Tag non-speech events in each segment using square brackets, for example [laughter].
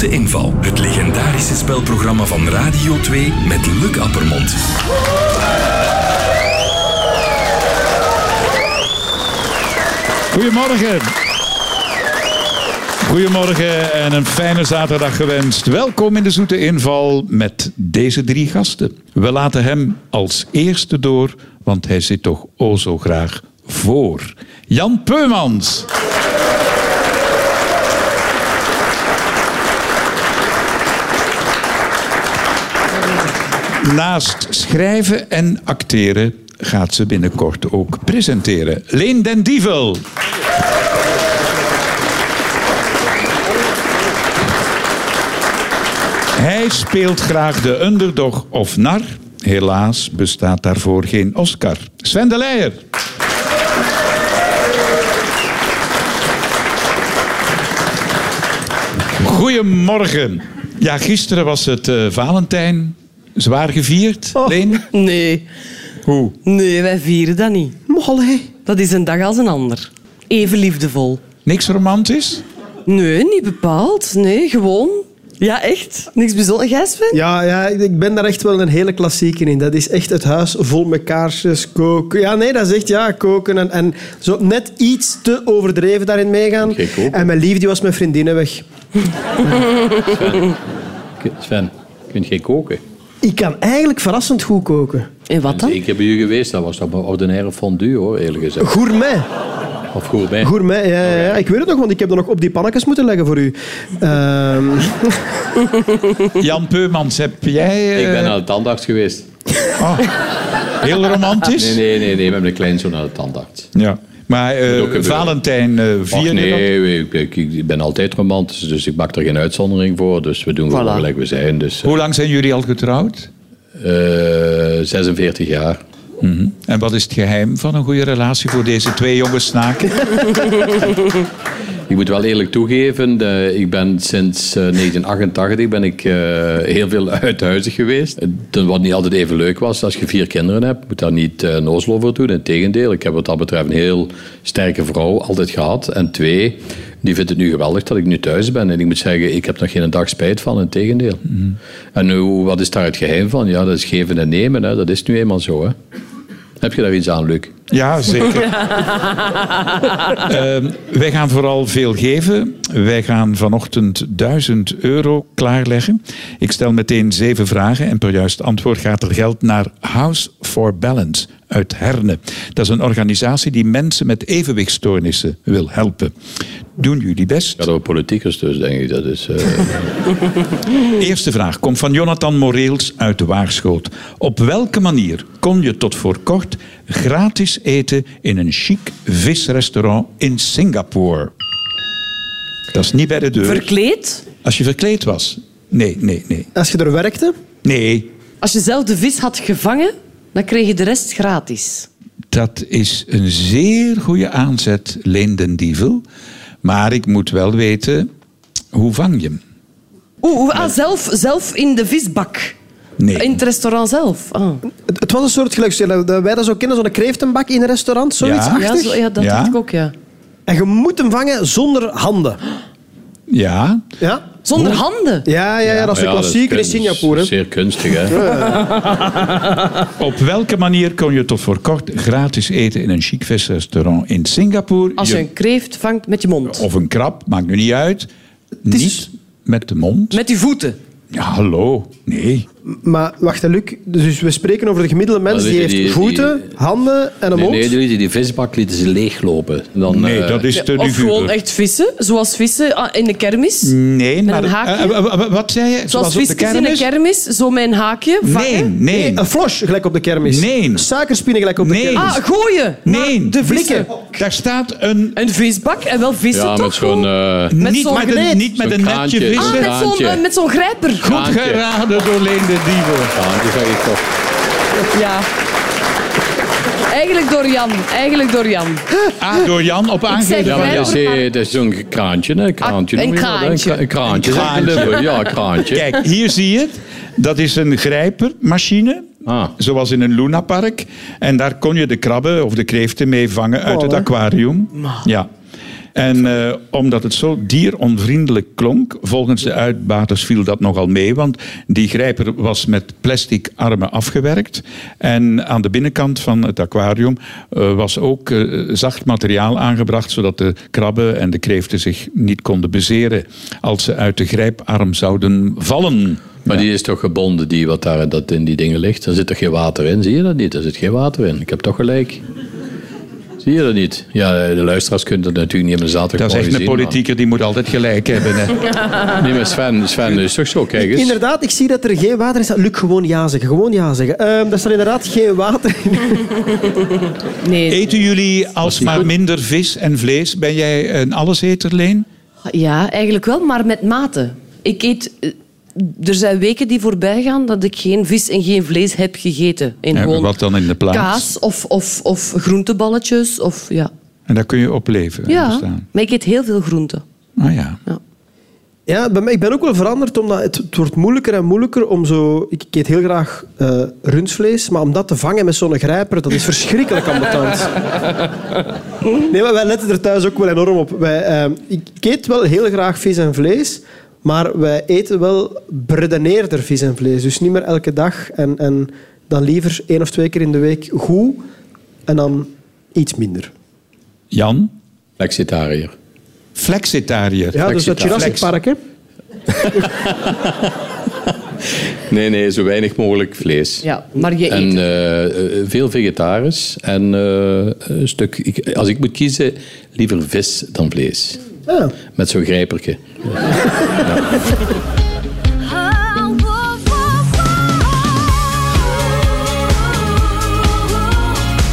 Carnaval. Het legendarische spelprogramma van Radio 2 met Luc Appermond. Goedemorgen. Goedemorgen en een fijne zaterdag gewenst. Welkom in de Zoete Inval met deze drie gasten. We laten hem als eerste door, want hij zit toch o zo graag voor. Jan Peumans. Naast schrijven en acteren gaat ze binnenkort ook presenteren. Leen den Dievel. Hij speelt graag de underdog of nar. Helaas bestaat daarvoor geen Oscar. Sven de Leijer. Goedemorgen. Ja, gisteren was het eh, Valentijn. Zwaar gevierd. Oh, Leen, Nee. hoe? Nee, wij vieren dat niet. Molle. Dat is een dag als een ander. Even liefdevol. Niks romantisch? Nee, niet bepaald. Nee, gewoon. Ja, echt. Niks bijzonders. Jij, Sven? Ja, ja, ik ben daar echt wel een hele klassieker in. Dat is echt het huis vol met kaarsjes, koken. Ja, nee, dat is echt ja, koken. En, en zo net iets te overdreven daarin meegaan. Geen koken. En mijn lief die was met vriendinnen weg. K- Sven, je kunt geen koken. Ik kan eigenlijk verrassend goed koken. En wat dan? Ik heb bij u geweest, dat was toch maar ordinaire fondue hoor, eerlijk gezegd. Gourmet. Of gourmet. Gourmet, ja, ja, ja. Ik weet het nog, want ik heb er nog op die pannetjes moeten leggen voor u. Ehm, Jan Peumans, heb jij... eh, Ik ben naar de tandarts geweest. Heel romantisch? Nee, nee, nee, nee, met mijn kleinzoon naar de tandarts. Ja. Maar eh, Moet ook gebeuren. Valentijn eh Ach, vierde dat? nee, ik, ik, ik ben altijd romantisch, dus ik maak er geen uitzondering voor. Dus we doen gewoon Voilà. gelijk we zijn. Dus Hoe lang zijn jullie al getrouwd? eh, 46 jaar. En wat is het geheim van een goede relatie voor deze twee jonge snaken? Ik moet wel eerlijk toegeven, de- ik ben sinds eh, 1988 ben ik, eh, heel veel uithuizig geweest. Eh, Wat niet altijd even leuk was, als je vier kinderen hebt, moet daar niet eh nozel voor doen. Integendeel, ik heb wat dat betreft een heel sterke vrouw altijd gehad. En twee, die vindt het nu geweldig dat ik nu thuis ben. En ik moet zeggen, ik heb nog geen dag spijt van, integendeel. En hoe, wat is daar het geheim van? Ja, dat is geven en nemen, hè. dat is nu eenmaal zo. Hè. Heb je daar iets aan, Luc? Ja, zeker. Ehm, wij gaan vooral veel geven. Wij gaan vanochtend 1000 euro klaarleggen. Ik stel meteen zeven vragen en per juist antwoord gaat er geld naar House for Balance uit Herne. Dat is een organisatie die mensen met evenwichtstoornissen wil helpen. Doen jullie best? Ja, door politiekers dus, denk ik. Dat is... eh, Eerste vraag komt van Jonathan Moreels uit de Waarschoot. Op welke manier kon je tot voor kort gratis eten in een chic visrestaurant in Singapore? Dat is niet bij de deur. Verkleed? Als je verkleed was. Nee, nee, nee. als je er werkte, Nee, Als je zelf de vis had gevangen, dan kreeg je de rest gratis. dat is een zeer goede aanzet, Leen den Dievel. Maar ik moet wel weten, hoe vang je hem? Oeh, oeh, ah, zelf, zelf in de visbak. Nee. In het restaurant zelf. Ah. het, het was een soort gelijk dat wij dat zo kennen, zo'n kreeftenbak in een restaurant, zoiets Ja. Ja, achtig. zo, ja, dat Ja. dacht ik ook, ja. En je moet hem vangen zonder handen. Ja, Ja? Zonder handen. Ja, ja, ja, dat is een maar ja, klassieker in kunst- Singapore. hè. Zeer kunstig, hè? Op welke manier kon je tot voor kort gratis eten in een chic visrestaurant in Singapore? Als je een kreeft vangt met je mond. Of een krab, maakt nu niet uit. is- Niet met de mond. Met je voeten. Ja, hallo. Nee. Maar wacht, hè, Luc. Dus we spreken over de gemiddelde mens. Maar Die, die- heeft die- die- voeten, handen en een Nee, mond. nee, die, lieten die visbak lieten ze leeglopen. Dan, Nee, eh, dat is te Of gewoon luguber. echt vissen, zoals vissen ah, in de kermis. Nee, maar... een haakje. Eh, eh, eh, wat zei je? Zoals op de visjes in de kermis? kermis, zo mijn haakje Nee, vangen. nee. Een flos, gelijk op de kermis. Nee. Suikerspinnen, gelijk op Nee. de kermis. Ah, gooien. Nee. Maar de Blikken. blikken. Daar staat een... Een visbak en wel vissen Ja, toch? met zo'n... gewoon? eh, Met niet, zo'n met een, gneed. niet met Zo'n een netje kraantje. ah, vissen. met zo'n Kraantje. eh, met zo'n grijper. Goed kraantje. geraden door Leen de Dieven. ja, die zag ik toch. Ja. Eigenlijk door Jan. Eigenlijk door Jan. Ah, door Jan op Ja, aangeven. zeg- maar dat is, eh, maar- dat is zo'n kraantje, hè? kraantje Ah, een noem je dat, hè? kraantje. Een kraantje. Een zeg ik in kraantje. Limburg. Ja, een kraantje. Kijk, hier zie je het. Dat is een grijpermachine. Ah. Zoals in een lunapark. En daar kon je de krabben of de kreeften mee vangen uit Oh, het hè. aquarium. Ja. En eh, omdat het zo dieronvriendelijk klonk, volgens de uitbaters viel dat nogal mee, want die grijper was met plastic armen afgewerkt. En aan de binnenkant van het aquarium eh, was ook eh, zacht materiaal aangebracht, zodat de krabben en de kreeften zich niet konden bezeren als ze uit de grijparm zouden vallen. Maar die is toch gebonden, die wat daar dat in die dingen ligt? Daar zit toch geen water in? Zie je dat niet? Er zit geen water in. Ik heb toch gelijk. Zie je dat niet? Ja, de luisteraars kunnen dat natuurlijk niet hebben zaterdag Dat is echt een gezien, maar- politieker die moet altijd gelijk hebben. Hè. Nee, maar Sven, Sven dat is toch zo, kijk eens. Inderdaad, ik zie dat er geen water is. Luc, gewoon ja zeggen. Gewoon ja zeggen. Ehm er staat inderdaad geen water in. Nee. Eten jullie alsmaar minder vis en vlees? Ben jij een alleseter, Leen? Ja, eigenlijk wel, maar met mate. Ik eet... eh, Er zijn weken die voorbij gaan dat ik geen vis en geen vlees heb gegeten. En Ja, gewoon wat dan in de plaats? Kaas of, of, of groenteballetjes. Of, ja. En daar kun je op leven en ja, bestaan. maar ik eet heel veel groenten. Ah ja. Ja, bij mij, ik ben ook wel veranderd, omdat het, het wordt moeilijker en moeilijker om zo... Ik, ik eet heel graag eh rundvlees, maar om dat te vangen met zo'n grijper, dat is verschrikkelijk ambetant. Nee, maar wij letten er thuis ook wel enorm op. Wij, eh, ik, ik eet wel heel graag vis en vlees, maar wij eten wel beredeneerder vis en vlees. Dus niet meer elke dag en, en dan liever één of twee keer in de week goed en dan iets minder. Jan, Flexitariër. flexitariër. Ja, dus dat Jurassic Park, hè? Nee, nee, zo weinig mogelijk vlees. Ja, maar je En eet. eh, eh, veel vegetarisch. En eh, een stuk... Ik, als ik moet kiezen, liever vis dan vlees. Ja. Met zo'n grijperke.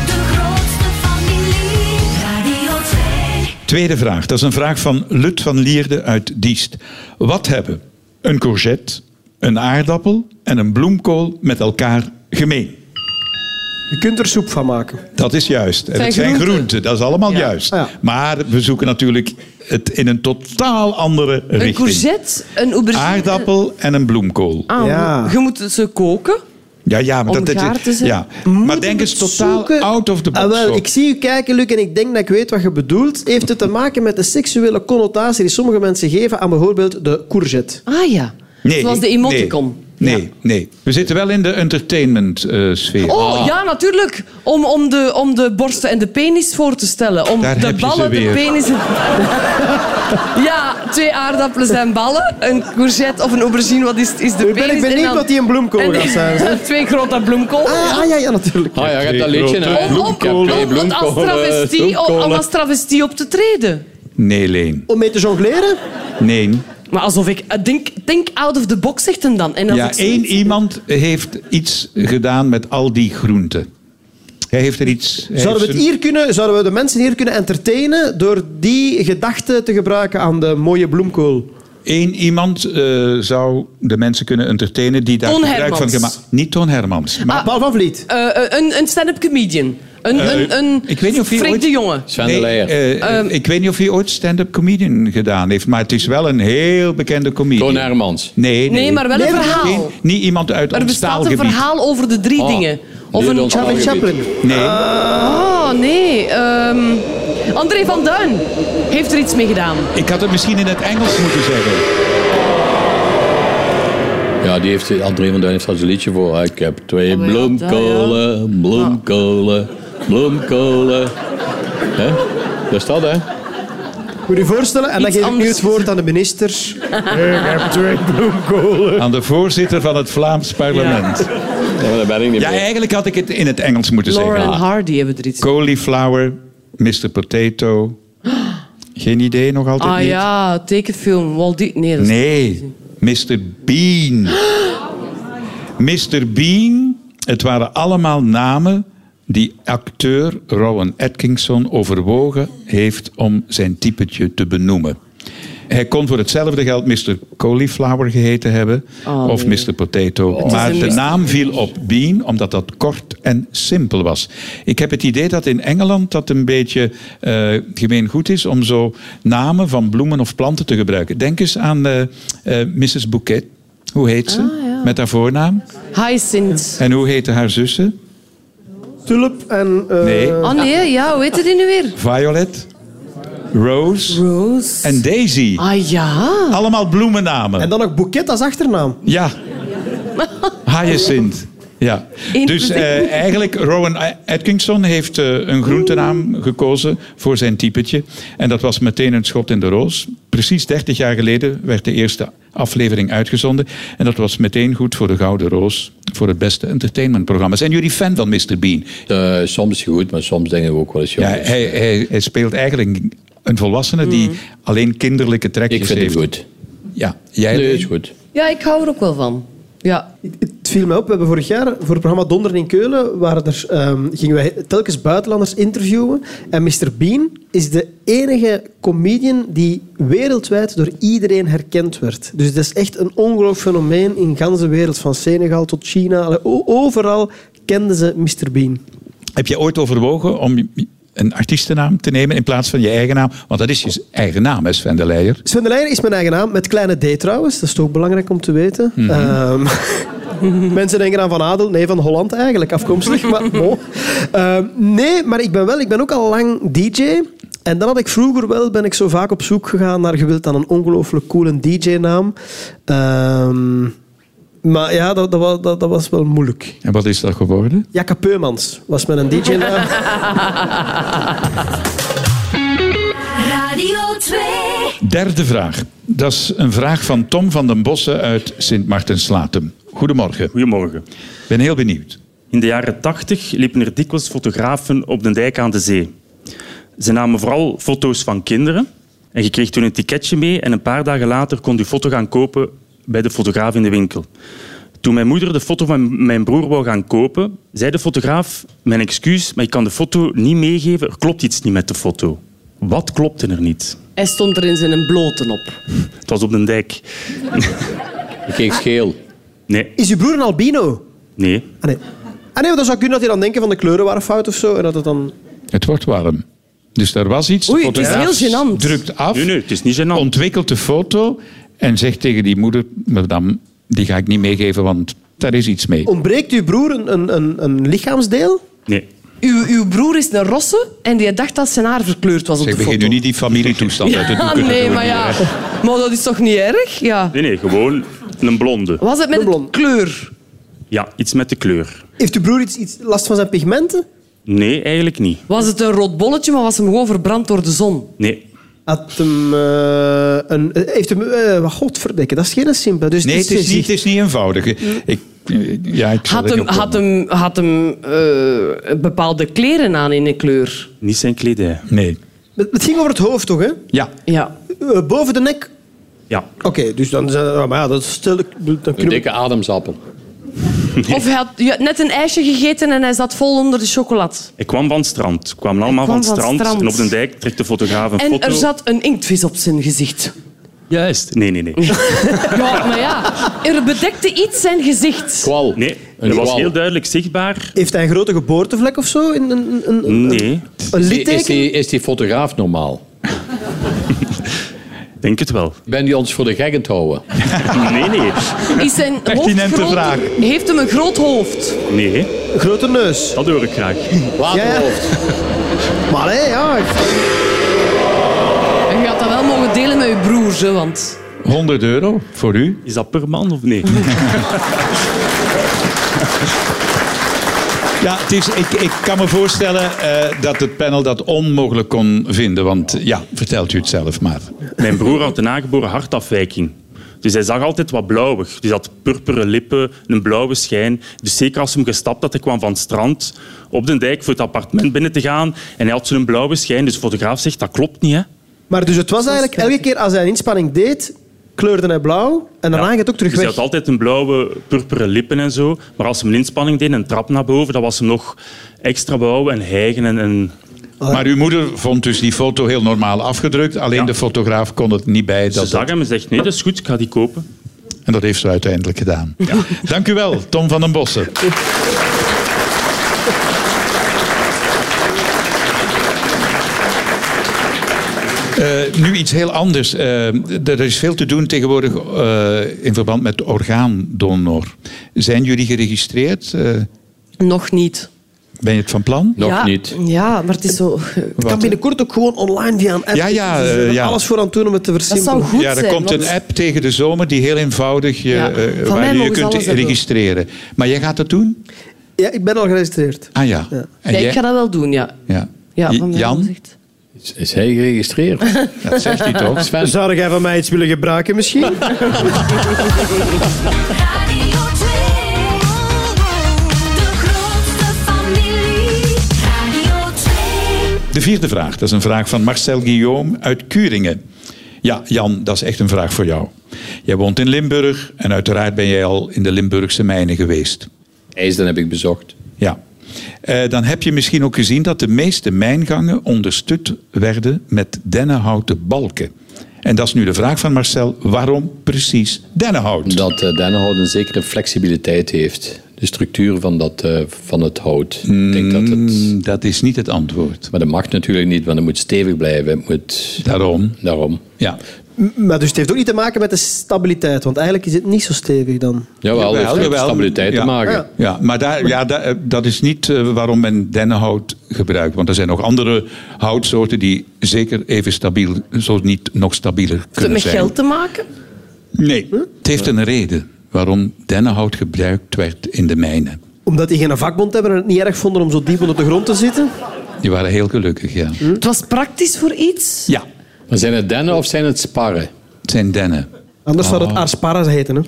De grootste familie. Radio 2. Tweede vraag. Dat is een vraag van Lut van Lierde uit Diest. Wat hebben een courgette, een aardappel en een bloemkool met elkaar gemeen? Je kunt er soep van maken. Dat is juist. En Zijn het zijn groenten. groenten. Dat is allemaal juist. Ah, ja. Maar we zoeken natuurlijk het in een totaal andere een richting. courgette, een aubergine. Aardappel en een bloemkool. Ah, Ja. Je moet ze koken. Ja, ja, maar dat, Om dat- gaar te zijn. ja. Maar denk eens totaal Zoeken- out of the box. Ah, wel, ook. ik zie u kijken, Luc, en ik denk dat ik weet wat je bedoelt. Heeft het te maken met de seksuele connotatie die sommige mensen geven aan bijvoorbeeld de courgette? Ah ja. Nee, Zoals de emoticon. Nee, nee, Ja. nee. We zitten wel in de eh, entertainment-sfeer. Oh ja, natuurlijk. Om, om, de, om de borsten en de penis voor te stellen. Om Daar de heb je ze ballen, weer. de penis. [laughs] ja, twee aardappelen en ballen. Een courgette of een aubergine, wat is, is de Nu ben penis? ik en benieuwd dan- wat die een bloemkool en- gaat zijn. [laughs] zeg. twee grote bloemkool. Ah, ah, ja, ja, natuurlijk. Ah ja, je hebt dat liedje. hè? Om, om, Ik heb om, twee om het als bloemkolen, eh, travestie, om, om bloemkolen. als travestie op te treden. Nee, Leen. Om mee te jongleren? Nee. Maar alsof ik... eh, Denk, denk out of the box, zegt hem dan. En als Ja, ik zoiets- één iemand heeft iets gedaan met al die groenten. Hij heeft er iets... hij Zouden we, heeft het zijn- hier kunnen, zouden we de mensen hier kunnen entertainen door die gedachte te gebruiken aan de mooie bloemkool? Eén iemand eh, zou de mensen kunnen entertainen die daar Toon gebruik van Hermans. Ah. gemaakt... Niet Toon Hermans. Maar Paul van Vliet. Eh, een, een stand-up comedian. Een, Eh, een, een ik weet niet of je Freek ooit- de Jonge. Sven de Leijer. eh, eh, Ehm. ik weet niet of hij ooit stand-up comedian gedaan heeft, maar het is wel een heel bekende comedian. Toon Hermans. Nee, nee. Nee, maar wel een verhaal. geen- niet iemand uit Er ons bestaat een taalgebied. verhaal over de drie Oh, Ah, dingen. Of nee, een... dan- Charlie Chaplin. Nee, Oh, nee. ehm, André van Duin heeft er iets mee gedaan. ik had het misschien in het Engels moeten zeggen. Ja, die heeft, André van Duin heeft daar zo'n liedje voor. Ik heb twee Oh, ja, bloemkolen, bloemkolen, bloemkolen. Hè? Dat is dat, hè? Moet je je voorstellen? En dan Iets geef ik nu anders. het woord aan de minister. Aan de voorzitter van het Vlaams parlement. Ja, Ja, maar daar ben ik niet mee. eigenlijk had ik het in het Engels moeten Laura en zeggen. Hardy hebben er iets mee Cauliflower, Mr. [gasps] Potato. Geen idee, nog altijd Ah niet. ja, tekenfilm. Walt Disney. Nee, dat is- Nee, Mr. Bean. Mr. Bean, het waren allemaal namen die acteur Rowan Atkinson overwogen heeft om zijn typetje te benoemen. Hij kon voor hetzelfde geld Mr. Cauliflower geheten hebben Oh, of nee. Mr. Potato. is Maar een de mysterie. naam viel op Bean omdat dat kort en simpel was. Ik heb het idee dat in Engeland dat een beetje eh gemeen goed is om zo namen van bloemen of planten te gebruiken. Denk eens aan eh, eh, Mrs. Bouquet. Hoe heet ze? Ah, Met haar voornaam. Hyacinth. En hoe heette haar zussen? Tulp en... eh, Nee. Oh nee, ja, hoe heet het die nu weer? Violet. Rose Rose. en Daisy. Ah ja. Allemaal bloemennamen. En dan nog Boeket als achternaam. Ja. Hyacinth. Ja. Eén Dus plus één. eh, eigenlijk, Rowan Atkinson heeft eh, een groentenaam gekozen voor zijn typetje. En dat was meteen een schot in de roos. Precies 30 jaar geleden werd de eerste aflevering uitgezonden. En dat was meteen goed voor de Gouden Roos, voor het beste entertainmentprogramma. Zijn jullie fan van Mr. Bean? Eh, soms goed, maar soms denken we ook wel eens Ja, dus, eh, jongens. hij, hij, hij speelt eigenlijk een volwassene die alleen kinderlijke trekjes ik vind het heeft. goed. Ja, jij Nee, is goed. Ja, ik hou er ook wel van. Ja. Het viel mij op. We hebben vorig jaar voor het programma Donderen in Keulen waren er, ehm, gingen wij telkens buitenlanders interviewen. En Mr. Bean is de enige comedian die wereldwijd door iedereen herkend werd. Dus dat is echt een ongelooflijk fenomeen in de ganse wereld. Van Senegal tot China. Allee, o- Overal kenden ze Mr. Bean. Heb je ooit overwogen om een artiestennaam te nemen in plaats van je eigen naam? Want dat is je eigen naam, hè, Sven de Leijer. Sven de Leijer is mijn eigen naam, met kleine D trouwens. Dat is toch belangrijk om te weten. Ehm, [laughs] mensen denken aan Van Adel, nee, van Holland eigenlijk, afkomstig. Maar, bon. Ehm, nee, maar ik ben wel, ik ben ook al lang DJ. En dan had ik vroeger wel, ben ik zo vaak op zoek gegaan naar, je wilt dan een ongelooflijk coole DJ-naam. maar ja, dat, dat, wa- dat, dat was wel moeilijk. En wat is dat geworden? Jacke Peumans was mijn DJ-naam. Radio 2. Derde vraag. Dat is een vraag van Tom van den Bossen uit Sint-Martens-Latem. Goedemorgen. Goedemorgen. Ik ben heel benieuwd. In de jaren 80 liepen er dikwijls fotografen op de dijk aan de zee. Ze namen vooral foto's van kinderen. En je kreeg toen een ticketje mee en een paar dagen later kon je foto gaan kopen bij de fotograaf in de winkel. Toen mijn moeder de foto van mijn broer wou gaan kopen, zei de fotograaf, mijn excuus, maar ik kan de foto niet meegeven, er klopt iets niet met de foto. Wat klopte er niet? Hij stond er in zijn bloten op. Het was op de dijk. Ik keek geel. Nee, Is uw broer een albino? nee. Ah nee. Ah nee, want dan zou kunnen dat hij dan denken van de kleuren waren fout of zo. En dat het dan... Het wordt warm. Dus daar was iets. De Oei, het is fotograaf heel gênant. drukt af, Nee, nee, het is niet gênant. ontwikkelt de foto en zegt tegen die moeder... Madame, die ga ik niet meegeven, want daar is iets mee. Ontbreekt uw broer een, een, een, een lichaamsdeel? Nee. Uw, uw broer is een rosse en die dacht dat zijn haar verkleurd was op Zeg, de foto. begin nu niet die familietoestand uit het Ah, doeken te nee, doen, maar ja. hè. Maar dat is toch niet erg? Ja. Nee, nee, gewoon een blonde. Was het met De blond. de kleur? Ja, iets met de kleur. Heeft uw broer iets, iets last van zijn pigmenten? Nee, eigenlijk niet. Was het een rood bolletje, maar was hem gewoon verbrand door de zon? Nee. Had hem, eh, een, eh, heeft hem... eh, wat godverdikke, dat is geen simpel. Dus Nee, het is niet, het is niet eenvoudig. Ik, eh, ja, ik zal Mm. Had er hem, niet op had komen. hem, had hem eh, bepaalde kleren aan in een kleur? Niet zijn kledij. Nee. Het het ging over het hoofd, toch? Hè? Ja. Ja. Eh, boven de nek... Ja. Oké, dus dan... zijn- ah, maar ja, dat is stil... ik bedoel, Dan Een kunnen we... dikke ademsappel. Of hij had ja, net een ijsje gegeten en hij zat vol onder de chocolade. Ik kwam van het strand. Ik kwam allemaal Ik kwam van het van strand, het strand. En op de dijk trekt de fotograaf een En foto. er zat een inktvis op zijn gezicht. Juist. Nee, nee, [laughs] nee. Ja, maar ja, er bedekte iets zijn gezicht. Kwal. Nee, Een dat was kwal. heel duidelijk zichtbaar. Heeft hij een grote geboortevlek of zo? Een, een, een, een, Nee, een Is die, litteken? is, die, is die fotograaf normaal? denk het wel. [laughs] Ben die ons voor de gek aan het houden? Nee, nee. Is zijn hoofd Pertinente groot? vraag. Heeft hem een groot hoofd? Nee, Een grote neus. dat hoor ik graag. Waterhoofd. [laughs] Maar hé, ja... ik- En je had dat wel mogen delen met je broers, hè, want... 100 euro voor u. Is dat per man of nee? Ja, het is, ik, ik kan me voorstellen eh, dat het panel dat onmogelijk kon vinden. Want eh, ja, vertelt u het zelf maar. Mijn broer had een aangeboren hartafwijking. Dus hij zag altijd wat blauwig. Dus hij had purperen lippen, een blauwe schijn. Dus zeker als hij hem gestapt had, hij kwam van het strand op de dijk voor het appartement binnen te gaan. En hij had zo'n blauwe schijn. Dus de fotograaf zegt, dat klopt niet, hè? Maar dus het was eigenlijk... Elke keer als hij een inspanning deed, kleurde hij blauw. En daarna ging het ook terug Dus hij weg. had altijd een blauwe, purperen lippen en zo. Maar als hij een inspanning deed, een trap naar boven, dat was hem nog extra bouwen en hijgen. En, en... Maar uw moeder vond dus die foto heel normaal afgedrukt. Alleen Ja. de fotograaf kon het niet bij. Ze Dat zag hem en zegt, nee, dat is goed, ik ga die kopen. En dat heeft ze uiteindelijk gedaan. [laughs] Dank u wel, Tom van den Bossen. Eh, nu iets heel anders. Eh, d- er is veel te doen tegenwoordig eh, in verband met orgaandonor. Zijn jullie geregistreerd? Eh, Nog niet. Ben je het van plan? Nog ja, niet. Ja, maar het is zo... Het kan binnenkort ook gewoon online via een app. Ja, ja, Dus er is eh, ja. alles voor aan het doen om het te Dat versimpelen. zou goed ja, er zijn. komt want- een app tegen de zomer die heel eenvoudig je, Ja, eh, van mij waar je je mogen ze kunt alles hebben. registreren. Maar jij gaat dat doen? Ja, ik ben al geregistreerd. Ah ja. Ja. En Ja, jij? ik ga dat wel doen, ja. ja. ja J- van mij wel Jan? gezegd. Is, is hij geregistreerd? Dat zegt hij toch? [laughs] Sven? Zou jij van mij iets willen gebruiken misschien? Radio 2. De grootste familie. Radio 2. De vierde vraag, dat is een vraag van Marcel Guillaume uit Kuringen. Ja, Jan, dat is echt een vraag voor jou. Jij woont in Limburg en uiteraard ben jij al in de Limburgse mijnen geweest. IJsden heb ik bezocht. Ja. Eh, dan heb je misschien ook gezien dat de meeste mijngangen ondersteund werden met dennenhouten balken. En dat is nu de vraag van Marcel, waarom precies dennenhout? Dat eh dennenhout een zekere flexibiliteit heeft. De structuur van, dat, eh, van het hout. Ik denk dat het... Hmm. Mm, dat is niet het antwoord. Maar dat mag natuurlijk niet, want het moet stevig blijven. Het moet... Daarom, Daarom. ja. [laughs] maar dus het heeft ook niet te maken met de stabiliteit, want eigenlijk is het niet zo stevig dan. Jawel, het heeft met jawel. stabiliteit Ja. te maken. Ja. Ja, maar daar, ja, da- eh, dat is niet eh, waarom men dennenhout gebruikt. Want er zijn nog andere houtsoorten die zeker even stabiel, zo niet nog stabieler Heeft het kunnen met zijn. geld te maken? Nee, het heeft een reden waarom dennenhout gebruikt werd in de mijnen. Omdat die geen vakbond hebben en het niet erg vonden om zo diep onder de grond te zitten. Die waren heel gelukkig, ja. Het was praktisch voor iets. Ja, Maar zijn het dennen of zijn het sparren? het zijn dennen. Anders zou Oh. het Arsparas heten. Hè.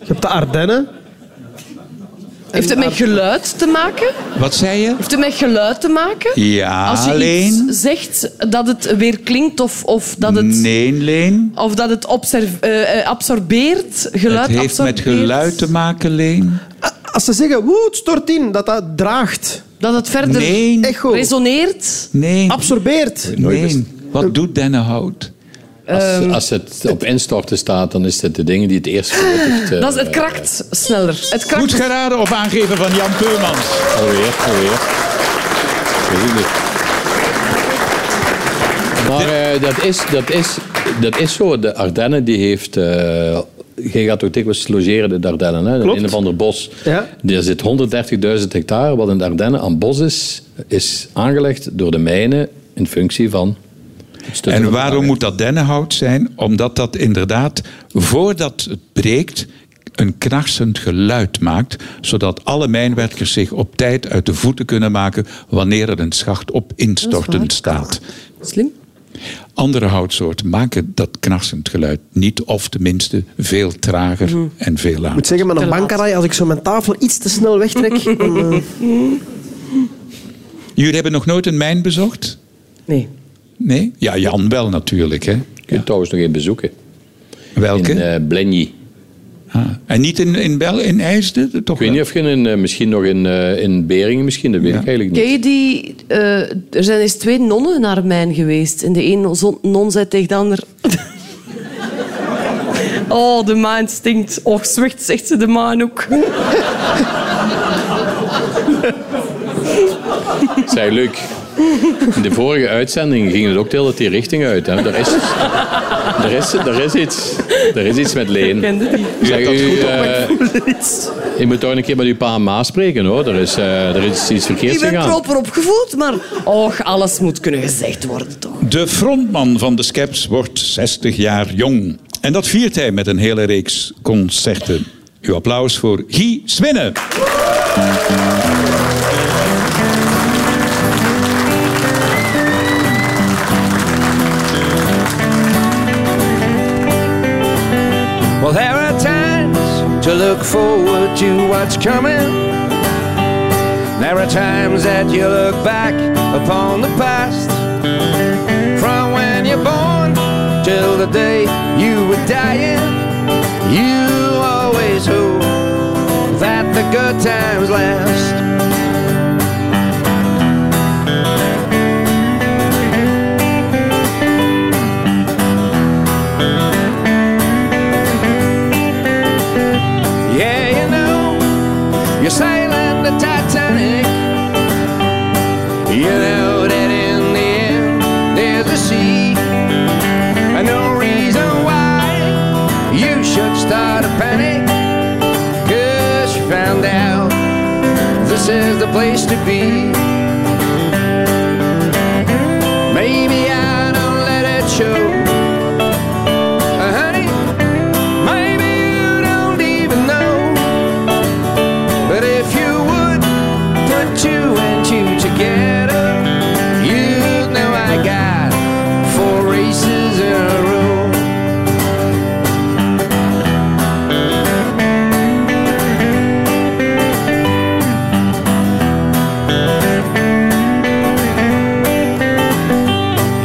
Je hebt de Ardennen. Heeft het met geluid te maken? Wat zei je? Heeft het met geluid te maken? Ja, Als je alleen... iets zegt dat het weer klinkt of, of dat het... Nee, Leen. Of dat het observ- eh, eh, absorbeert, geluid Het heeft absorbeert. met geluid te maken, Leen. Als ze zeggen, woe, het stort in, dat dat draagt, Dat het verder Nee. Echo. resoneert. Nee, absorbeert. nee. Wat doet dennenhout? Als, als het op instorten staat, dan is het de dingen die het eerst gelukkig... eh, Dat is, het krakt sneller. Het krakt Goed geraden op aangeven van Jan Peurmans. Alweer, alweer. Weet ik niet. Maar eh, dat, is, dat, is, dat is zo. De Ardennen die heeft... eh je gaat ook dikwijls logeren in de Ardennen. Hè? In Klopt. een of ander bos. Ja. Er zit 130.000 hectare wat in de Ardennen aan bos is. Is aangelegd door de mijnen in functie van... het stutten En van de waarom aarde. moet dat dennenhout zijn? Omdat dat inderdaad, voordat het breekt, een knarsend geluid maakt, zodat alle mijnwerkers zich op tijd uit de voeten kunnen maken wanneer er een schacht op instorten staat. Slim. Andere houtsoorten maken dat knarsend geluid niet, of tenminste veel trager en veel Ik moet later. zeggen, met een Te laat. bankarij, als ik zo mijn tafel iets te snel wegtrek... [laughs] dan, eh, Jullie hebben nog nooit een mijn bezocht? Nee. Nee? Ja, Jan wel natuurlijk. Hè? Je kunt trouwens nog even bezoeken. Welke? In eh Blenny. Ah. En niet in, in, Bel, in IJsden? Toch Ik weet wel? niet of je in, eh, misschien nog in, eh, in Beringen, misschien, dat weet ik eigenlijk niet. Ken je die... eh, er zijn eens twee nonnen naar mijn geweest. En de een zo- non zei tegen de ander... [laughs] oh, de maan stinkt. Och, zwicht, zegt ze de maan ook. Zij leuk. In de vorige uitzending ging het ook de hele tijd die richting uit. Hè. Er, is, er, is, er, is iets, er is iets met Leen. Kende die? [laughs] Zeg, u, eh, je moet toch een keer met uw pa en ma spreken hoor. Er is, eh, er is iets verkeerds Ik ben gegaan. proper opgevoed, maar... Och, alles moet kunnen gezegd worden, toch? De frontman van de Skeps wordt 60 jaar jong. En dat viert hij met een hele reeks concerten. Uw applaus voor Guy Swinnen. Well, there are times to look forward to what's coming. There are times that you look back upon the past. From when you're born till the day you were dying, you always hope that the good times last. Yeah, you know, you're sailing the Titanic. You know that in the end there's a sea, and no reason why you should start a panic. Cause you found out the this is the place to be. Maybe I don't let it show. Uh, honey, maybe you don't even know. But if you would put two and two together, you know I got four races in a row.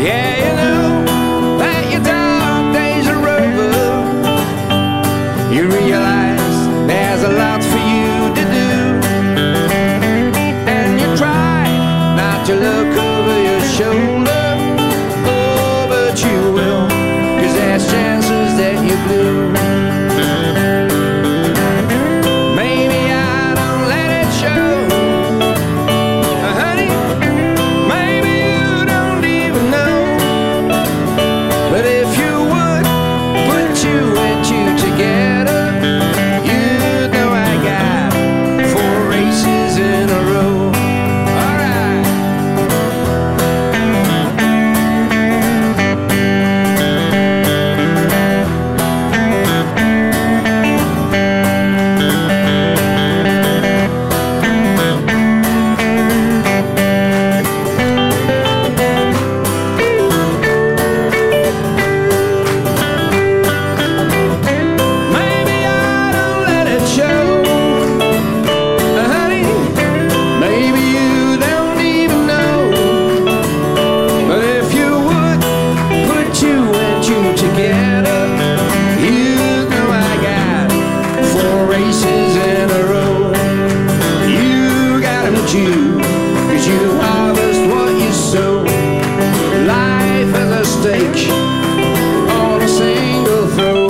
Yeah, you know that your dark days are over. You realize there's a lot for you to do. And you try not to look over your shoulder. Oh, but you will. Cause there's chances that you blew. Maybe I don't let it show. Uh, honey, maybe you don't even know. But if you would put two and two together, you know I got four races in a row. Alright. Maybe I don't let it show. Uh, honey, maybe you don't even know. But if you would put you and you together, you know I got four races in a row. You got 'em too, 'cause you harvest what you sow. Life is a stake on a single throw.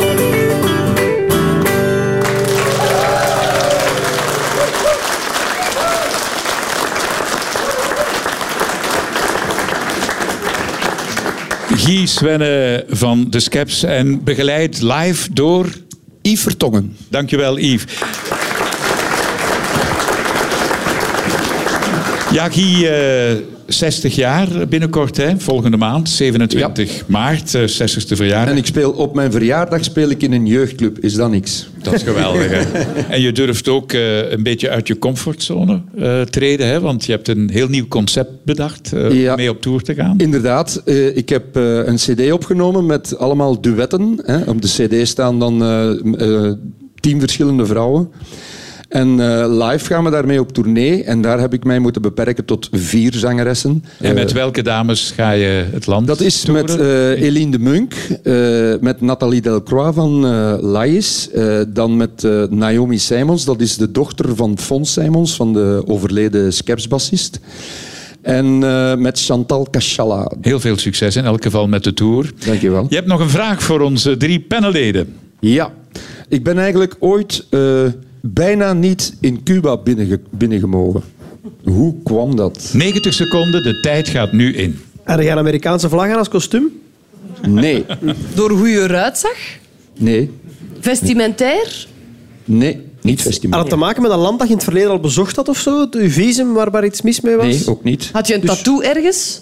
Guy Swenne van de Skeps en begeleid live door... Yves Vertongen. Dankjewel, Yves. Ja, Guy, eh, 60 jaar binnenkort, hè? volgende maand, 27 maart, eh, 60ste verjaardag. En ik speel op mijn verjaardag speel ik in een jeugdclub. Is dat niks? Dat is geweldig. hè? En je durft ook eh, een beetje uit je comfortzone eh, treden, hè? want je hebt een heel nieuw concept bedacht eh, om Ja. mee op tour te gaan. Inderdaad, eh, ik heb eh, een cd opgenomen met allemaal duetten. Hè. Op de cd staan dan eh, m- eh, tien verschillende vrouwen. En eh, live gaan we daarmee op tournee. En daar heb ik mij moeten beperken tot vier zangeressen. En Eh, met welke dames ga je het land Dat is toeren? met eh Eline de Munk, eh, met Nathalie Delcroix van eh Lais, eh, dan met eh, Naomi Simons, dat is de dochter van Fons Simons, van de overleden Skeps-bassist. En eh, met Chantal Cachala. Heel veel succes in elk geval met de tour. Dankjewel. Je hebt nog een vraag voor onze drie panelleden. Ja, ik ben eigenlijk ooit eh, bijna niet in Cuba binnenge binnengemogen. Hoe kwam dat? 90 seconden, de tijd gaat nu in. Heb jij een Amerikaanse vlag aan als kostuum? Nee, Door hoe je eruit zag? nee, Vestimentair? nee, niet Had festival. het te maken met een land dat je in het verleden al bezocht had of zo? Het- Uw visum waar, waar iets mis mee was? Nee, ook niet. Had je een tattoo ergens?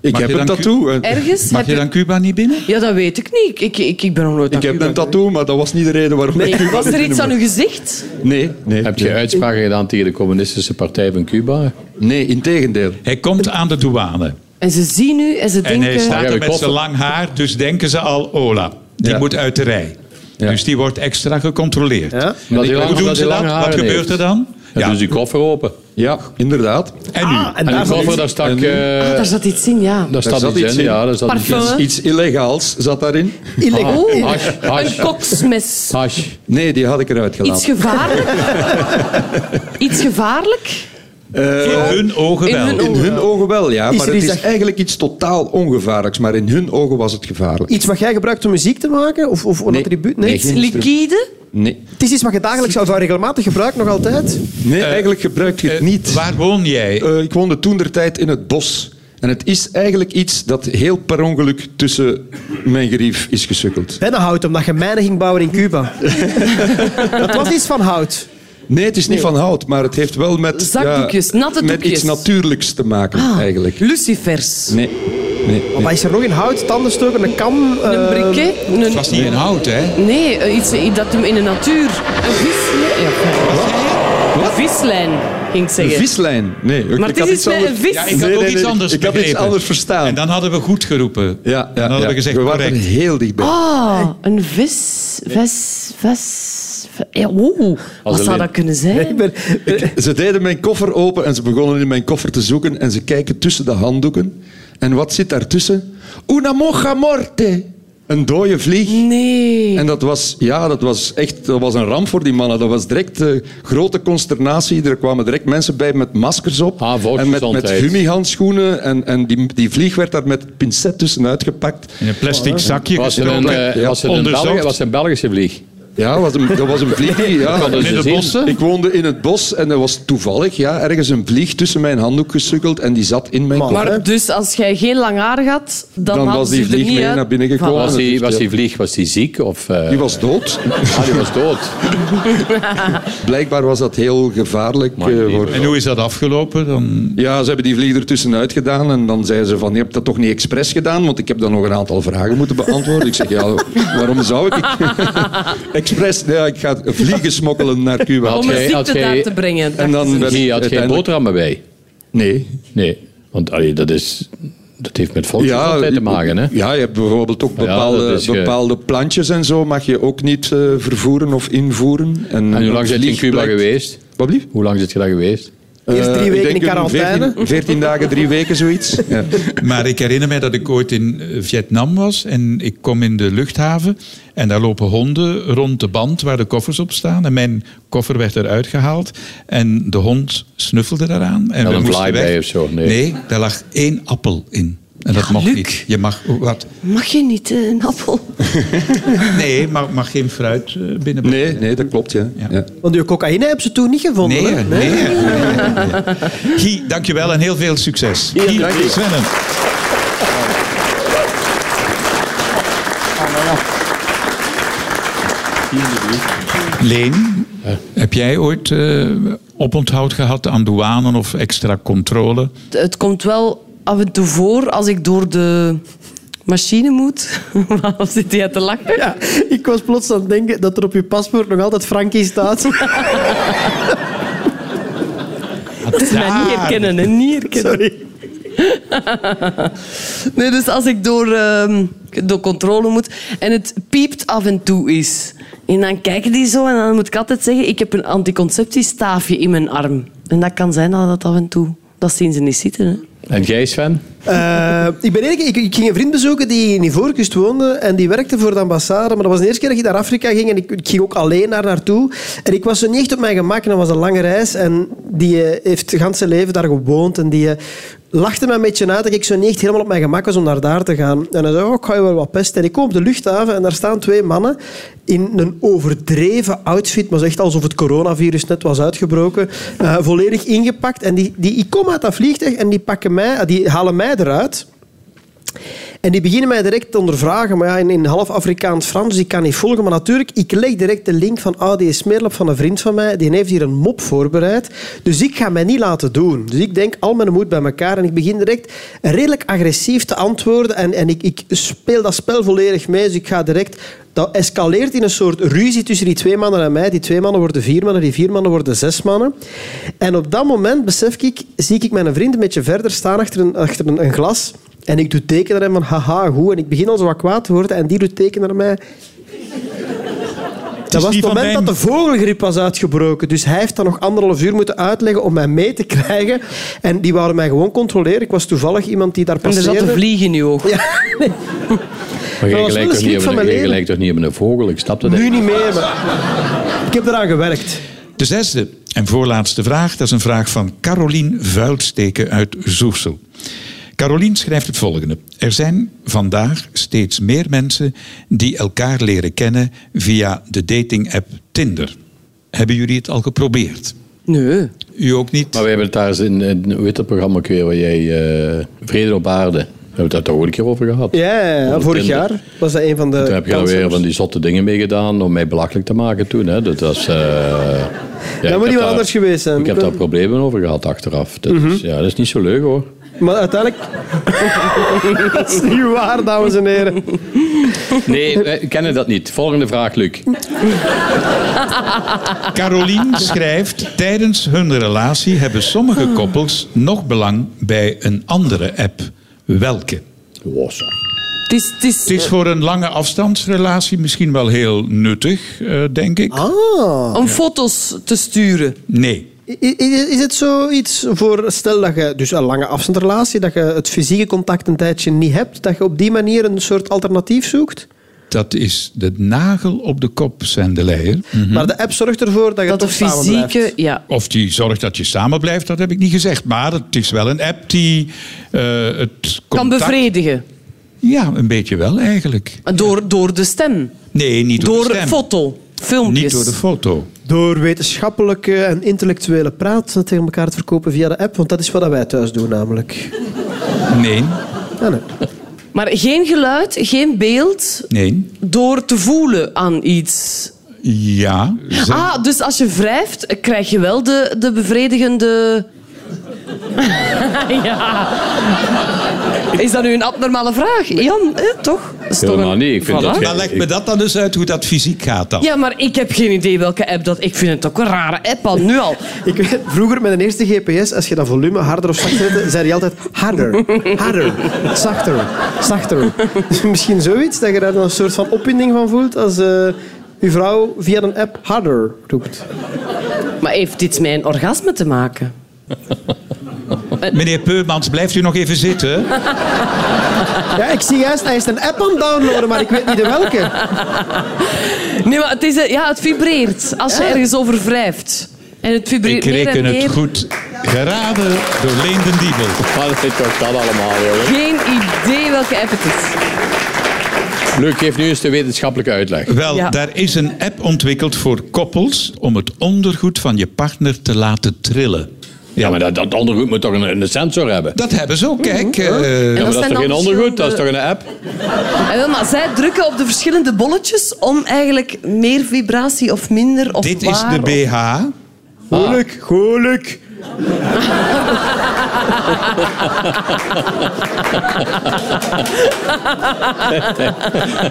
Ik Mag heb je een dan tattoo. eh. Ergens? Mag Heb je dan Cuba niet binnen? Ja, dat weet ik niet. Ik, ik, ik ben nog nooit Ik aan heb Cuba een tattoo, maar dat was niet de reden waarom geweest. ik Nee. Cuba Was er binnen iets aan mocht. uw gezicht? Nee, nee. Heb je uitspraken gedaan tegen de communistische partij van Cuba? Nee, integendeel. Hij komt aan de douane. En ze zien u en ze En hij denken... staat Ja, er we met zijn koffie. lang haar, dus denken ze al, Ola, die Ja. moet uit de rij. Ja. Dus die wordt extra gecontroleerd. Ja? Dat hij lang- Hoe doen dat ze hij dat? lange Wat haren gebeurt heeft. er dan? Ja. Ja, Dus die koffer open. Ja, inderdaad. en nu? Ah, en En daar die koffer, zat daar iets- stak... eh, Ah, daar zat iets in, ja. daar staat iets in, ja. Daar zat iets in. Ah, Parfum. Iets, iets illegaals zat daarin. illegaal. Oeh, Hash, een hash, koksmes. hash. Nee, die had ik eruit Iets gelaten. gevaarlijk? Iets gevaarlijk? in hun ogen in wel. hun Eh, In hun ogen wel, ja. Oh, Is Maar er het iets is dat- eigenlijk iets totaal ongevaarlijks. Maar in hun ogen was het gevaarlijk. Iets wat jij gebruikt om muziek te maken? Of, of een Nee. attribuut? Nee, Nee. Iets liquide? Nee, Het is iets wat je dagelijks of regelmatig gebruikt, nog altijd. nee eigenlijk gebruik je het Eh, niet. Waar woon jij? Eh, ik woonde toen der tijd in het bos. En het is eigenlijk iets dat heel per ongeluk tussen mijn gerief is gesukkeld. Binnenhout, omdat je mijnen ging bouwen in Cuba. dat was iets van hout. Nee, het is niet van hout, maar het heeft wel met, Zakdoekjes, natte met doekjes. iets natuurlijks te maken, Ah, Oh, eigenlijk. Lucifers. Nee. nee. Maar is er nog in hout, tandenstoker, een kam? Een eh, briquet. Het Een, was niet in hout, hè? nee, eh, iets eh, dat hem in de natuur... Een vislijn. Ja, fijn. Een vislijn, ging ik Een zeggen. vislijn? Nee. ik- Maar ik het is had iets met anders- een vis. Ja, ik had Nee, ook nee, iets nee, anders Ik had iets begrepen. anders verstaan. En dan hadden we goed geroepen. ja, ja, en dan hadden ja. we gezegd, we waren correct. heel dichtbij. Ah, een vis. Vis, vis... vis- Ja, wow. Wat zou alleen. dat kunnen zijn? Ik ben- Ze deden mijn koffer open en ze begonnen in mijn koffer te zoeken en ze kijken tussen de handdoeken. En wat zit daartussen? Una moja morte. Een dode vlieg. Nee. En dat was, ja, dat was echt dat was een ramp voor die mannen. Dat was direct eh, grote consternatie. Er kwamen direct mensen bij met maskers op. Ah, en met, met volksgezondheid. gummihandschoenen. En, en die, die vlieg werd daar met pincet tussenuit gepakt. In een plastic zakje Was er een, gestoken. eh, ja, was er een, onderzocht. Belgi- was een Belgische vlieg? Ja, was een, dat was een vlieg. die- Ja. dat is In de zin. bossen? Ik woonde in het bos en er was toevallig ja, ergens een vlieg tussen mijn handdoek gesukkeld en die zat in mijn Maar- koffer. hè? Maar dus als jij geen lang haar had, dan, Dan had was die ze er vlieg niet mee uit. naar binnen gekomen. Dus Was die, was die vlieg was die ziek? Of, eh, Die was dood. [laughs] ah, die was [laughs] dood. Blijkbaar was dat heel gevaarlijk. Maar eh, lieve voor- En hoe is dat afgelopen? Dan... Ja, ze hebben die vlieg er tussenuit gedaan. En dan zeiden ze van, je hebt dat toch niet expres gedaan? Want ik heb dan nog een aantal vragen moeten beantwoorden. Ik zeg, ja, waarom zou ik? [laughs] expres, ja, ik ga vliegen smokkelen naar Cuba. Om een Had jij- had ziekte daar jij- te brengen. En dan dachten ze. werd- Die had geen Uiteindelijk- boterhammen bij. Nee. Nee, want allee, dat, is, dat heeft met Ja, volksgezondheid te maken. Hè? ja, je hebt bijvoorbeeld ook bepaalde, dat is ge- bepaalde plantjes en zo mag je ook niet eh, vervoeren of invoeren. En, En hoe lang zit je in vlieg Cuba blijkt- geweest? Wat blieft? Hoe lang zit je daar geweest? Eerst drie Eh, ik weken denk in een quarantaine. 14, 14 dagen, drie weken, [laughs] zoiets. Ja. Maar ik herinner mij dat ik ooit in eh, Vietnam was en ik kom in de luchthaven en daar lopen honden rond de band waar de koffers op staan en mijn koffer werd eruit gehaald en de hond snuffelde daaraan. En Had we een moesten fly weg. bij of zo? Nee. daar lag één appel in. En dat mag Luc. niet. Je mag wat? Mag je niet eh, een appel? Nee, maar mag geen fruit eh, binnenbrengen. Nee, nee, dat klopt, ja. Ja. ja. Want je cocaïne hebben ze toen niet gevonden. Nee, hè? nee. [laughs] Guy, dankjewel en heel veel succes. Guy, dank je. Svennen. Leen, heb jij ooit eh, oponthoud gehad aan douanen of extra controle? Het komt wel af en toe voor als ik door de machine moet. [laughs] Waarom zit jij te lachen? Ja, ik was plots aan het denken dat er op je paspoort nog altijd Frankie staat. Het is mij niet herkennen, hè. niet herkennen. Sorry. [laughs] Nee, dus als ik door, ehm, door controle moet en het piept af en toe is. En dan kijken die zo en dan moet ik altijd zeggen, ik heb een anticonceptiestaafje in mijn arm. En dat kan zijn dat dat af en toe... Dat zien ze niet zitten, hè. En jij, Sven? Eh, ik, ben eerlijk, ik, ik ging een vriend bezoeken die in Ivoorkust woonde en die werkte voor de ambassade. Maar dat was de eerste keer dat ik naar Afrika ging en ik, ik ging ook alleen daar naartoe. En ik was zo niet echt op mijn gemak en dat was een lange reis. En die eh, heeft het ganse leven daar gewoond en die eh, lachte me een beetje uit dat ik zo niet echt helemaal op mijn gemak was om naar daar te gaan. En hij zei, oh, ik ga je wel wat pesten. En ik kom op de luchthaven en daar staan twee mannen in een overdreven outfit, maar zo echt alsof het coronavirus net was uitgebroken, eh, volledig ingepakt. En die, die, ik kom uit dat vliegtuig en die, pakken mij, die halen mij eruit. En die beginnen mij direct te ondervragen, maar ja, in, in half Afrikaans-Frans, dus ik kan niet volgen. Maar natuurlijk, ik leg direct de link van ah, die smeerlap van een vriend van mij, die heeft hier een mop voorbereid. Dus ik ga mij niet laten doen. Dus ik denk al mijn moed bij elkaar en ik begin direct redelijk agressief te antwoorden. En, en ik, ik speel dat spel volledig mee, dus ik ga direct... Dat escaleert in een soort ruzie tussen die twee mannen en mij. Die twee mannen worden vier mannen, die vier mannen worden zes mannen. En op dat moment, besef ik, zie ik mijn vriend een beetje verder staan achter een, achter een, een glas... En ik doe teken naar hem van haha, goed. En ik begin al zo wat kwaad te worden en die doet teken naar mij. Dat was niet het van moment mijn- dat de vogelgriep was uitgebroken. Dus hij heeft dan nog anderhalf uur moeten uitleggen om mij mee te krijgen. En die wouden mij gewoon controleren. Ik was toevallig iemand die daar En er zat passeerde. een vlieg in je oog. Maar Dat jij was wel gelijk een toch schrik niet van op een- mijn jij leven. gelijkt toch niet op een vogel? Ik snap dat Nu echt. niet meer, maar... Ik heb eraan gewerkt. De zesde en voorlaatste vraag, dat is een vraag van Carolien Vuilsteken uit Zoersel. Carolien schrijft het volgende. Er zijn vandaag steeds meer mensen die elkaar leren kennen via de dating-app Tinder. Hebben jullie het al geprobeerd? Nee. U ook niet? Maar we hebben het daar eens in, in hoe heet dat programma ook weer, waar jij eh, Vrede op Aarde. We hebben het daar toch ook een keer over gehad. Ja, ja, ja. Over vorig Tinder. jaar was dat een van de Toen heb je daar kansen. weer van die zotte dingen mee gedaan om mij belachelijk te maken toen. Hè. Dat was, eh, ik dat heb moet iemand daar- anders geweest zijn. Ik heb daar problemen over gehad achteraf. Dat, is, ja, dat is niet zo leuk hoor. Maar uiteindelijk... [laughs] dat is niet waar, dames en heren. Nee, wij kennen dat niet. Volgende vraag, Luc. Caroline schrijft, tijdens hun relatie hebben sommige koppels nog belang bij een andere app. Welke? Oh, zeg. Het is, het is, Het is voor een lange afstandsrelatie misschien wel heel nuttig, eh, denk ik. om foto's te sturen. Nee. I- i- Is, het zoiets voor, stel dat je dus een lange afstandsrelatie, dat je het fysieke contact een tijdje niet hebt, dat je op die manier een soort alternatief zoekt? Dat is de nagel op de kop, zijn de leier. Maar de app zorgt ervoor dat je Dat de toch samen fysieke... blijft. Ja. Of die zorgt dat je samen blijft, dat heb ik niet gezegd. Maar het is wel een app die eh, het contact... Kan bevredigen. Ja, een beetje wel eigenlijk. Door, door de stem. Nee, niet door, de Door stem. foto. Filmpjes. Niet door de foto. Door wetenschappelijke en intellectuele praat eh, tegen elkaar te verkopen via de app, want dat is wat wij thuis doen namelijk. Nee, Ja, nee. Maar geen geluid, geen beeld. nee. Door te voelen aan iets. Ja. Zeg- Ah, dus als je wrijft, eh, krijg je wel de, de bevredigende... [laughs] ja. Is dat nu een abnormale vraag? Jan, eh, toch? Dat is toch Helemaal een- niet. Ik vind Voilà. dat Maar leg me dat dan eens uit, hoe dat fysiek gaat dan. Ja, maar ik heb geen idee welke app dat... Ik vind het ook een rare app al, nu al. Ik weet, vroeger met een eerste GPS, als je dat volume harder of zachter zette, zei hij altijd harder, harder, zachter, zachter. Dus misschien zoiets, dat je daar dan een soort van opwinding van voelt als eh je vrouw via een app harder roept. Maar heeft dit met een orgasme te maken? Meneer Peumans, blijft u nog even zitten? Ja, ik zie juist, hij is een app aan het downloaden, maar ik weet niet de welke. Nee, maar het, is, eh, ja, het vibreert als je ergens over wrijft. En het Ik vibreert meer en reken meer. het goed geraden door Leenden Diebel. Wat is toch dat allemaal, jongen? Geen idee welke app het is. Luc, geef nu eens de wetenschappelijke uitleg. Wel, Ja. daar is een app ontwikkeld voor koppels om het ondergoed van je partner te laten trillen. Ja, maar dat, dat ondergoed moet toch een, een sensor hebben? Dat hebben ze ook, kijk. eh, Ja, maar dat is zijn toch geen dan ondergoed? Dat is toch verschillende- een app? Ah, wel, maar zij drukken op de verschillende bolletjes om eigenlijk meer vibratie of minder of dit is waar. de BH. Ah. Goelijk, goelijk.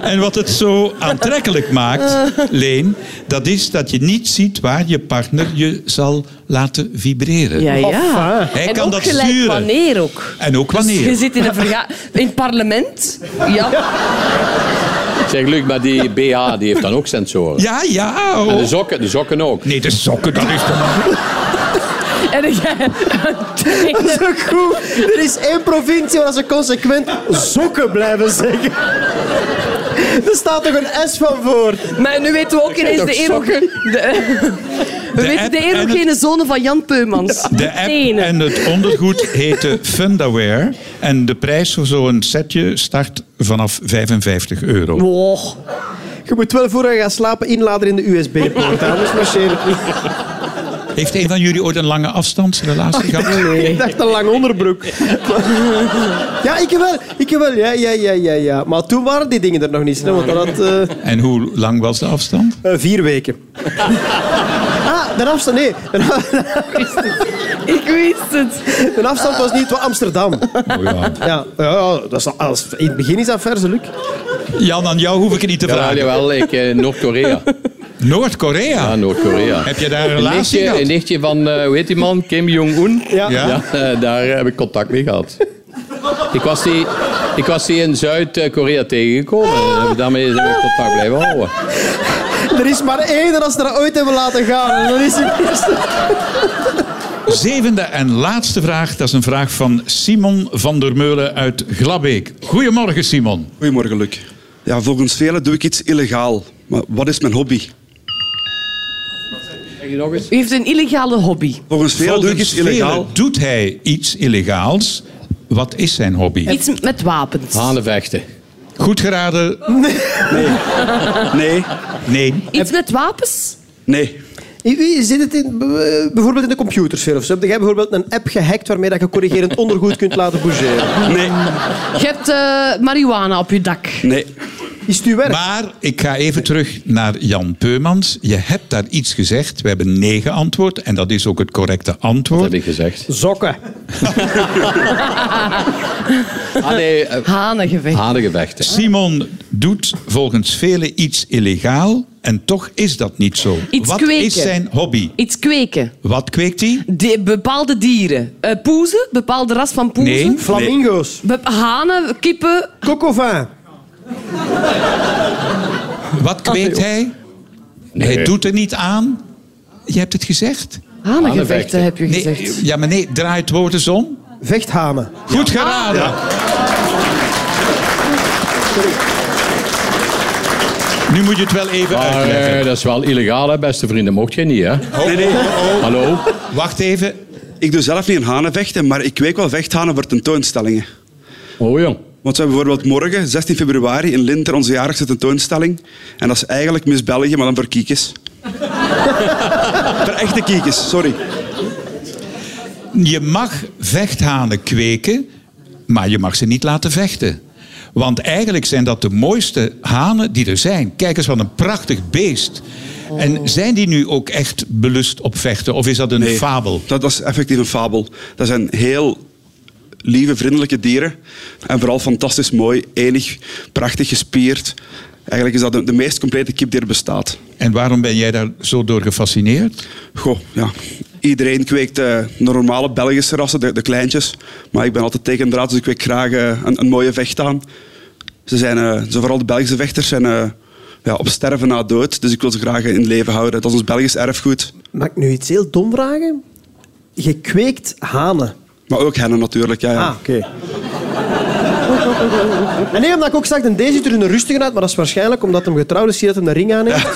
En wat het zo aantrekkelijk [laughs] maakt, Eh. Leen, dat is dat je niet ziet waar je partner je zal laten vibreren. Ja, ja. Hij en kan ook dat gelijk sturen. wanneer ook. En ook Dus wanneer. je zit in een [laughs] verga... In het parlement. Ja. Zeg, Luc, maar die BH die heeft dan ook sensoren. Ja, ja. oh. En de sokken, de sokken ook. Nee, de sokken, dat is toch... En dan ga je- [laughs] Dat is [laughs] ook goed. Er is één provincie waar ze consequent sokken blijven zeggen. Er staat toch een S van voor. Maar nu weten we ook ineens toch de erogene... we De weten app de en erogene zone van Jan Peumans. De app Tenen. en het ondergoed heten Fundaware. En de prijs voor zo'n setje start vanaf 55 euro. Oh. Je moet wel voor je gaat slapen inladen in de USB-poort, anders marcheer het niet. Heeft een van jullie ooit een lange afstandsrelatie [laughs] gehad? Ik dacht een lang onderbroek. [laughs] Ja, ik wel. Ik wel. Ja, ja, ja, ja, ja. Maar toen waren die dingen er nog niet. hè, Want dat had eh, En hoe lang was de afstand? eh, vier [laughs] weken. Ah, de afstand, nee. [laughs] Ik wist het. De afstand was niet van Amsterdam. Oh ja. Ja, ja dat is, als, in het begin is dat verse luk. Jan, aan jou hoef ik het niet te Ja, vragen. jawel, ik, eh, Noord-Korea. Noord-Korea. Ja, Noord-Korea. Heb je daar een Een relatie nichtje, een gehad? nichtje van, eh hoe heet die man? Kim Jong-un. Ja. Ja. eh, daar heb ik contact mee gehad. Ik was die, ik was die in Zuid-Korea tegengekomen. Eh, Daarmee zijn we contact blijven houden. Er is maar één als ze dat ooit hebben laten gaan. En dat is het eerste. [laughs] Zevende en laatste vraag. Dat is een vraag van Simon van der Meulen uit Glabbeek. Goedemorgen, Simon. Goedemorgen, Luc. Ja, volgens velen doe ik iets illegaal. Maar wat is mijn hobby? U heeft een illegale hobby. Volgens velen doe ik Volgens iets illegaal. velen doet hij iets illegaals. Wat is zijn hobby? Iets met wapens. Hanenvechten. Goed geraden. Nee, Nee. Iets met wapens? nee. In- in- Zit het in, eh, bijvoorbeeld in de computersfeer of zo? Heb jij bijvoorbeeld een app gehackt waarmee dat je corrigerend ondergoed kunt laten bougeren? Nee, Je hebt eh marihuana op je dak. nee. Is het uw werk? Maar ik ga even terug naar Jan Peumans. Je hebt daar iets gezegd. We hebben nee geantwoord. En dat is ook het correcte heb antwoord. ik gezegd. Sokken. Ah nee, eh, Hanengevecht. hanengevecht. hè. Simon doet volgens velen iets illegaal. En toch is dat niet zo. Iets Wat kweken. is zijn hobby? Iets kweken. Wat kweekt hij? Die- bepaalde dieren. Eh poezen, bepaalde ras van poezen. Nee. Flamingo's. Be- hanen, kippen. Cocovin. Wat kweekt hij? Hij doet er niet aan. Je hebt het gezegd. Hanengevechten heb je gezegd. Nee, ja, maar nee, draai het woord eens om. Vechthamen. Goed geraden. Nu moet je het wel even Maar uitleggen. eh, dat is wel illegaal, hè, beste vrienden. Mocht je niet, hè? Nee, nee. Hallo? Wacht even. Ik doe zelf niet in hanenvechten, maar ik kweek wel vechthanen voor tentoonstellingen. Oh jong. Want we hebben bijvoorbeeld morgen, 16 februari, in Linter onze jaarlijkse tentoonstelling. En dat is eigenlijk Miss België, maar dan voor kiekjes. voor echte kiekjes, sorry. Je mag vechthanen kweken, maar je mag ze niet laten vechten. Want eigenlijk zijn dat de mooiste hanen die er zijn. Kijk eens wat een prachtig beest. En zijn die nu ook echt belust op vechten? Of is dat een Nee, fabel? Dat, dat is effectief een fabel. Dat zijn heel lieve, vriendelijke dieren. En vooral fantastisch mooi, enig, prachtig gespierd. Eigenlijk is dat de, de meest complete kip die er bestaat. En waarom ben jij daar zo door gefascineerd? Goh, ja. Iedereen kweekt eh, normale Belgische rassen, de, de kleintjes. Maar ik ben altijd tegen draad, dus ik kweek graag eh, een, een mooie vecht aan. Ze zijn, eh, zo vooral de Belgische vechters zijn eh, ja, op sterven na dood. Dus ik wil ze graag in het leven houden. Dat is ons Belgisch erfgoed. Mag ik nu iets heel dom vragen? Je kweekt hanen. Maar ook hennen natuurlijk. Ja, ja. Ah, oké. En nee, omdat ik ook zag, dat deze ziet er een rustiger uit, maar dat is waarschijnlijk omdat hem getrouwd is, zie je dat hij een ring aan heeft.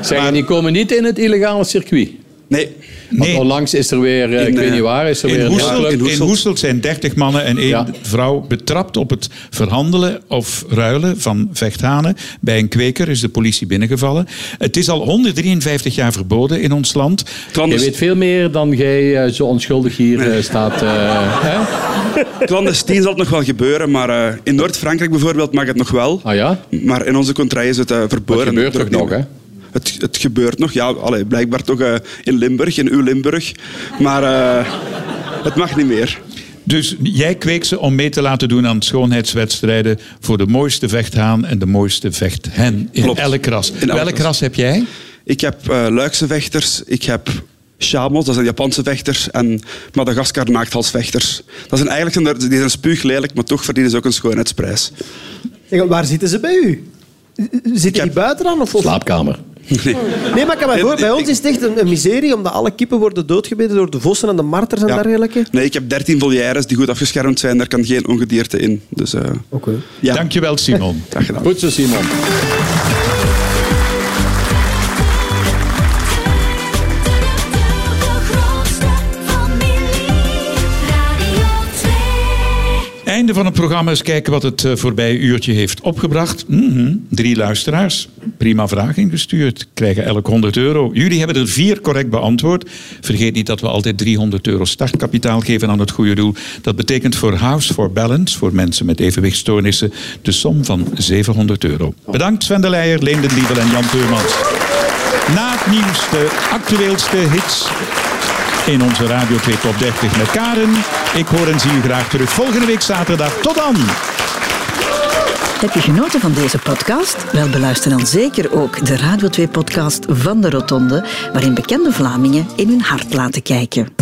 Zeg, die komen niet in het illegale circuit. Nee, Want Nee. onlangs is er weer, eh, In, ik weet eh, niet waar, is er weer In een Hoestel, nachtclub. in, Hoesselt. Hoesselt zijn 30 mannen en één Ja. vrouw betrapt op het verhandelen of ruilen van vechthanen. Bij een kweker is de politie binnengevallen. Het is al 153 jaar verboden in ons land. Je Clandest- weet veel meer dan jij eh, zo onschuldig hier eh, staat. eh, [laughs] hè? clandestien zal het nog wel gebeuren. Maar eh, in Noord-Frankrijk bijvoorbeeld mag het nog wel. Ah ja? Maar in onze contraille is het eh, verboden. Het gebeurt toch Door- nog, hè? Het, het gebeurt nog, ja. Allee, blijkbaar toch eh, in Limburg, in uw Limburg. Maar eh, het mag niet meer. Dus jij kweekt ze om mee te laten doen aan schoonheidswedstrijden voor de mooiste vechthaan en de mooiste vechthen in Klopt. elk ras. In elk Welk ras. ras heb jij? Ik heb eh, Luikse vechters, ik heb Shamos, dat zijn Japanse vechters, en Madagaskar naakthalsvechters. Dat zijn eigenlijk zijn er- die zijn spuug lelijk, maar toch verdienen ze ook een schoonheidsprijs. Zeg, waar zitten ze bij u? Zitten die buiten aan? Of, of- Slaapkamer. [laughs] Nee, maar ik kan mij voor, bij Ik- ons is het echt een, een miserie, omdat alle kippen worden doodgebeten door de vossen en de marters en Ja. dergelijke. Nee, ik heb 13 volières die goed afgeschermd zijn, daar kan geen ongedierte in. Dus, eh Oké. ja, Dankjewel Simon. dag gedaan. Goed zo, Simon. De grootste familie. Radio 2. Einde van het programma eens kijken wat het eh, voorbije uurtje heeft opgebracht. Mhm, Drie luisteraars, prima vraag ingestuurd, krijgen elk 100 euro. Jullie hebben er vier correct beantwoord. Vergeet niet dat we altijd 300 euro startkapitaal geven aan het goede doel. Dat betekent voor House for Balance, voor mensen met evenwichtstoornissen, de som van 700 euro. Bedankt Sven de Leijer, Leen den Diebel en Jan Peurmans. Na het nieuws de actueelste hits in onze Radio 2 Top 30 met Karen. Ik hoor en zie u graag terug volgende week zaterdag. Tot dan! Heb je genoten van deze podcast? Wel, beluister dan zeker ook de Radio 2-podcast van de Rotonde, waarin bekende Vlamingen in hun hart laten kijken.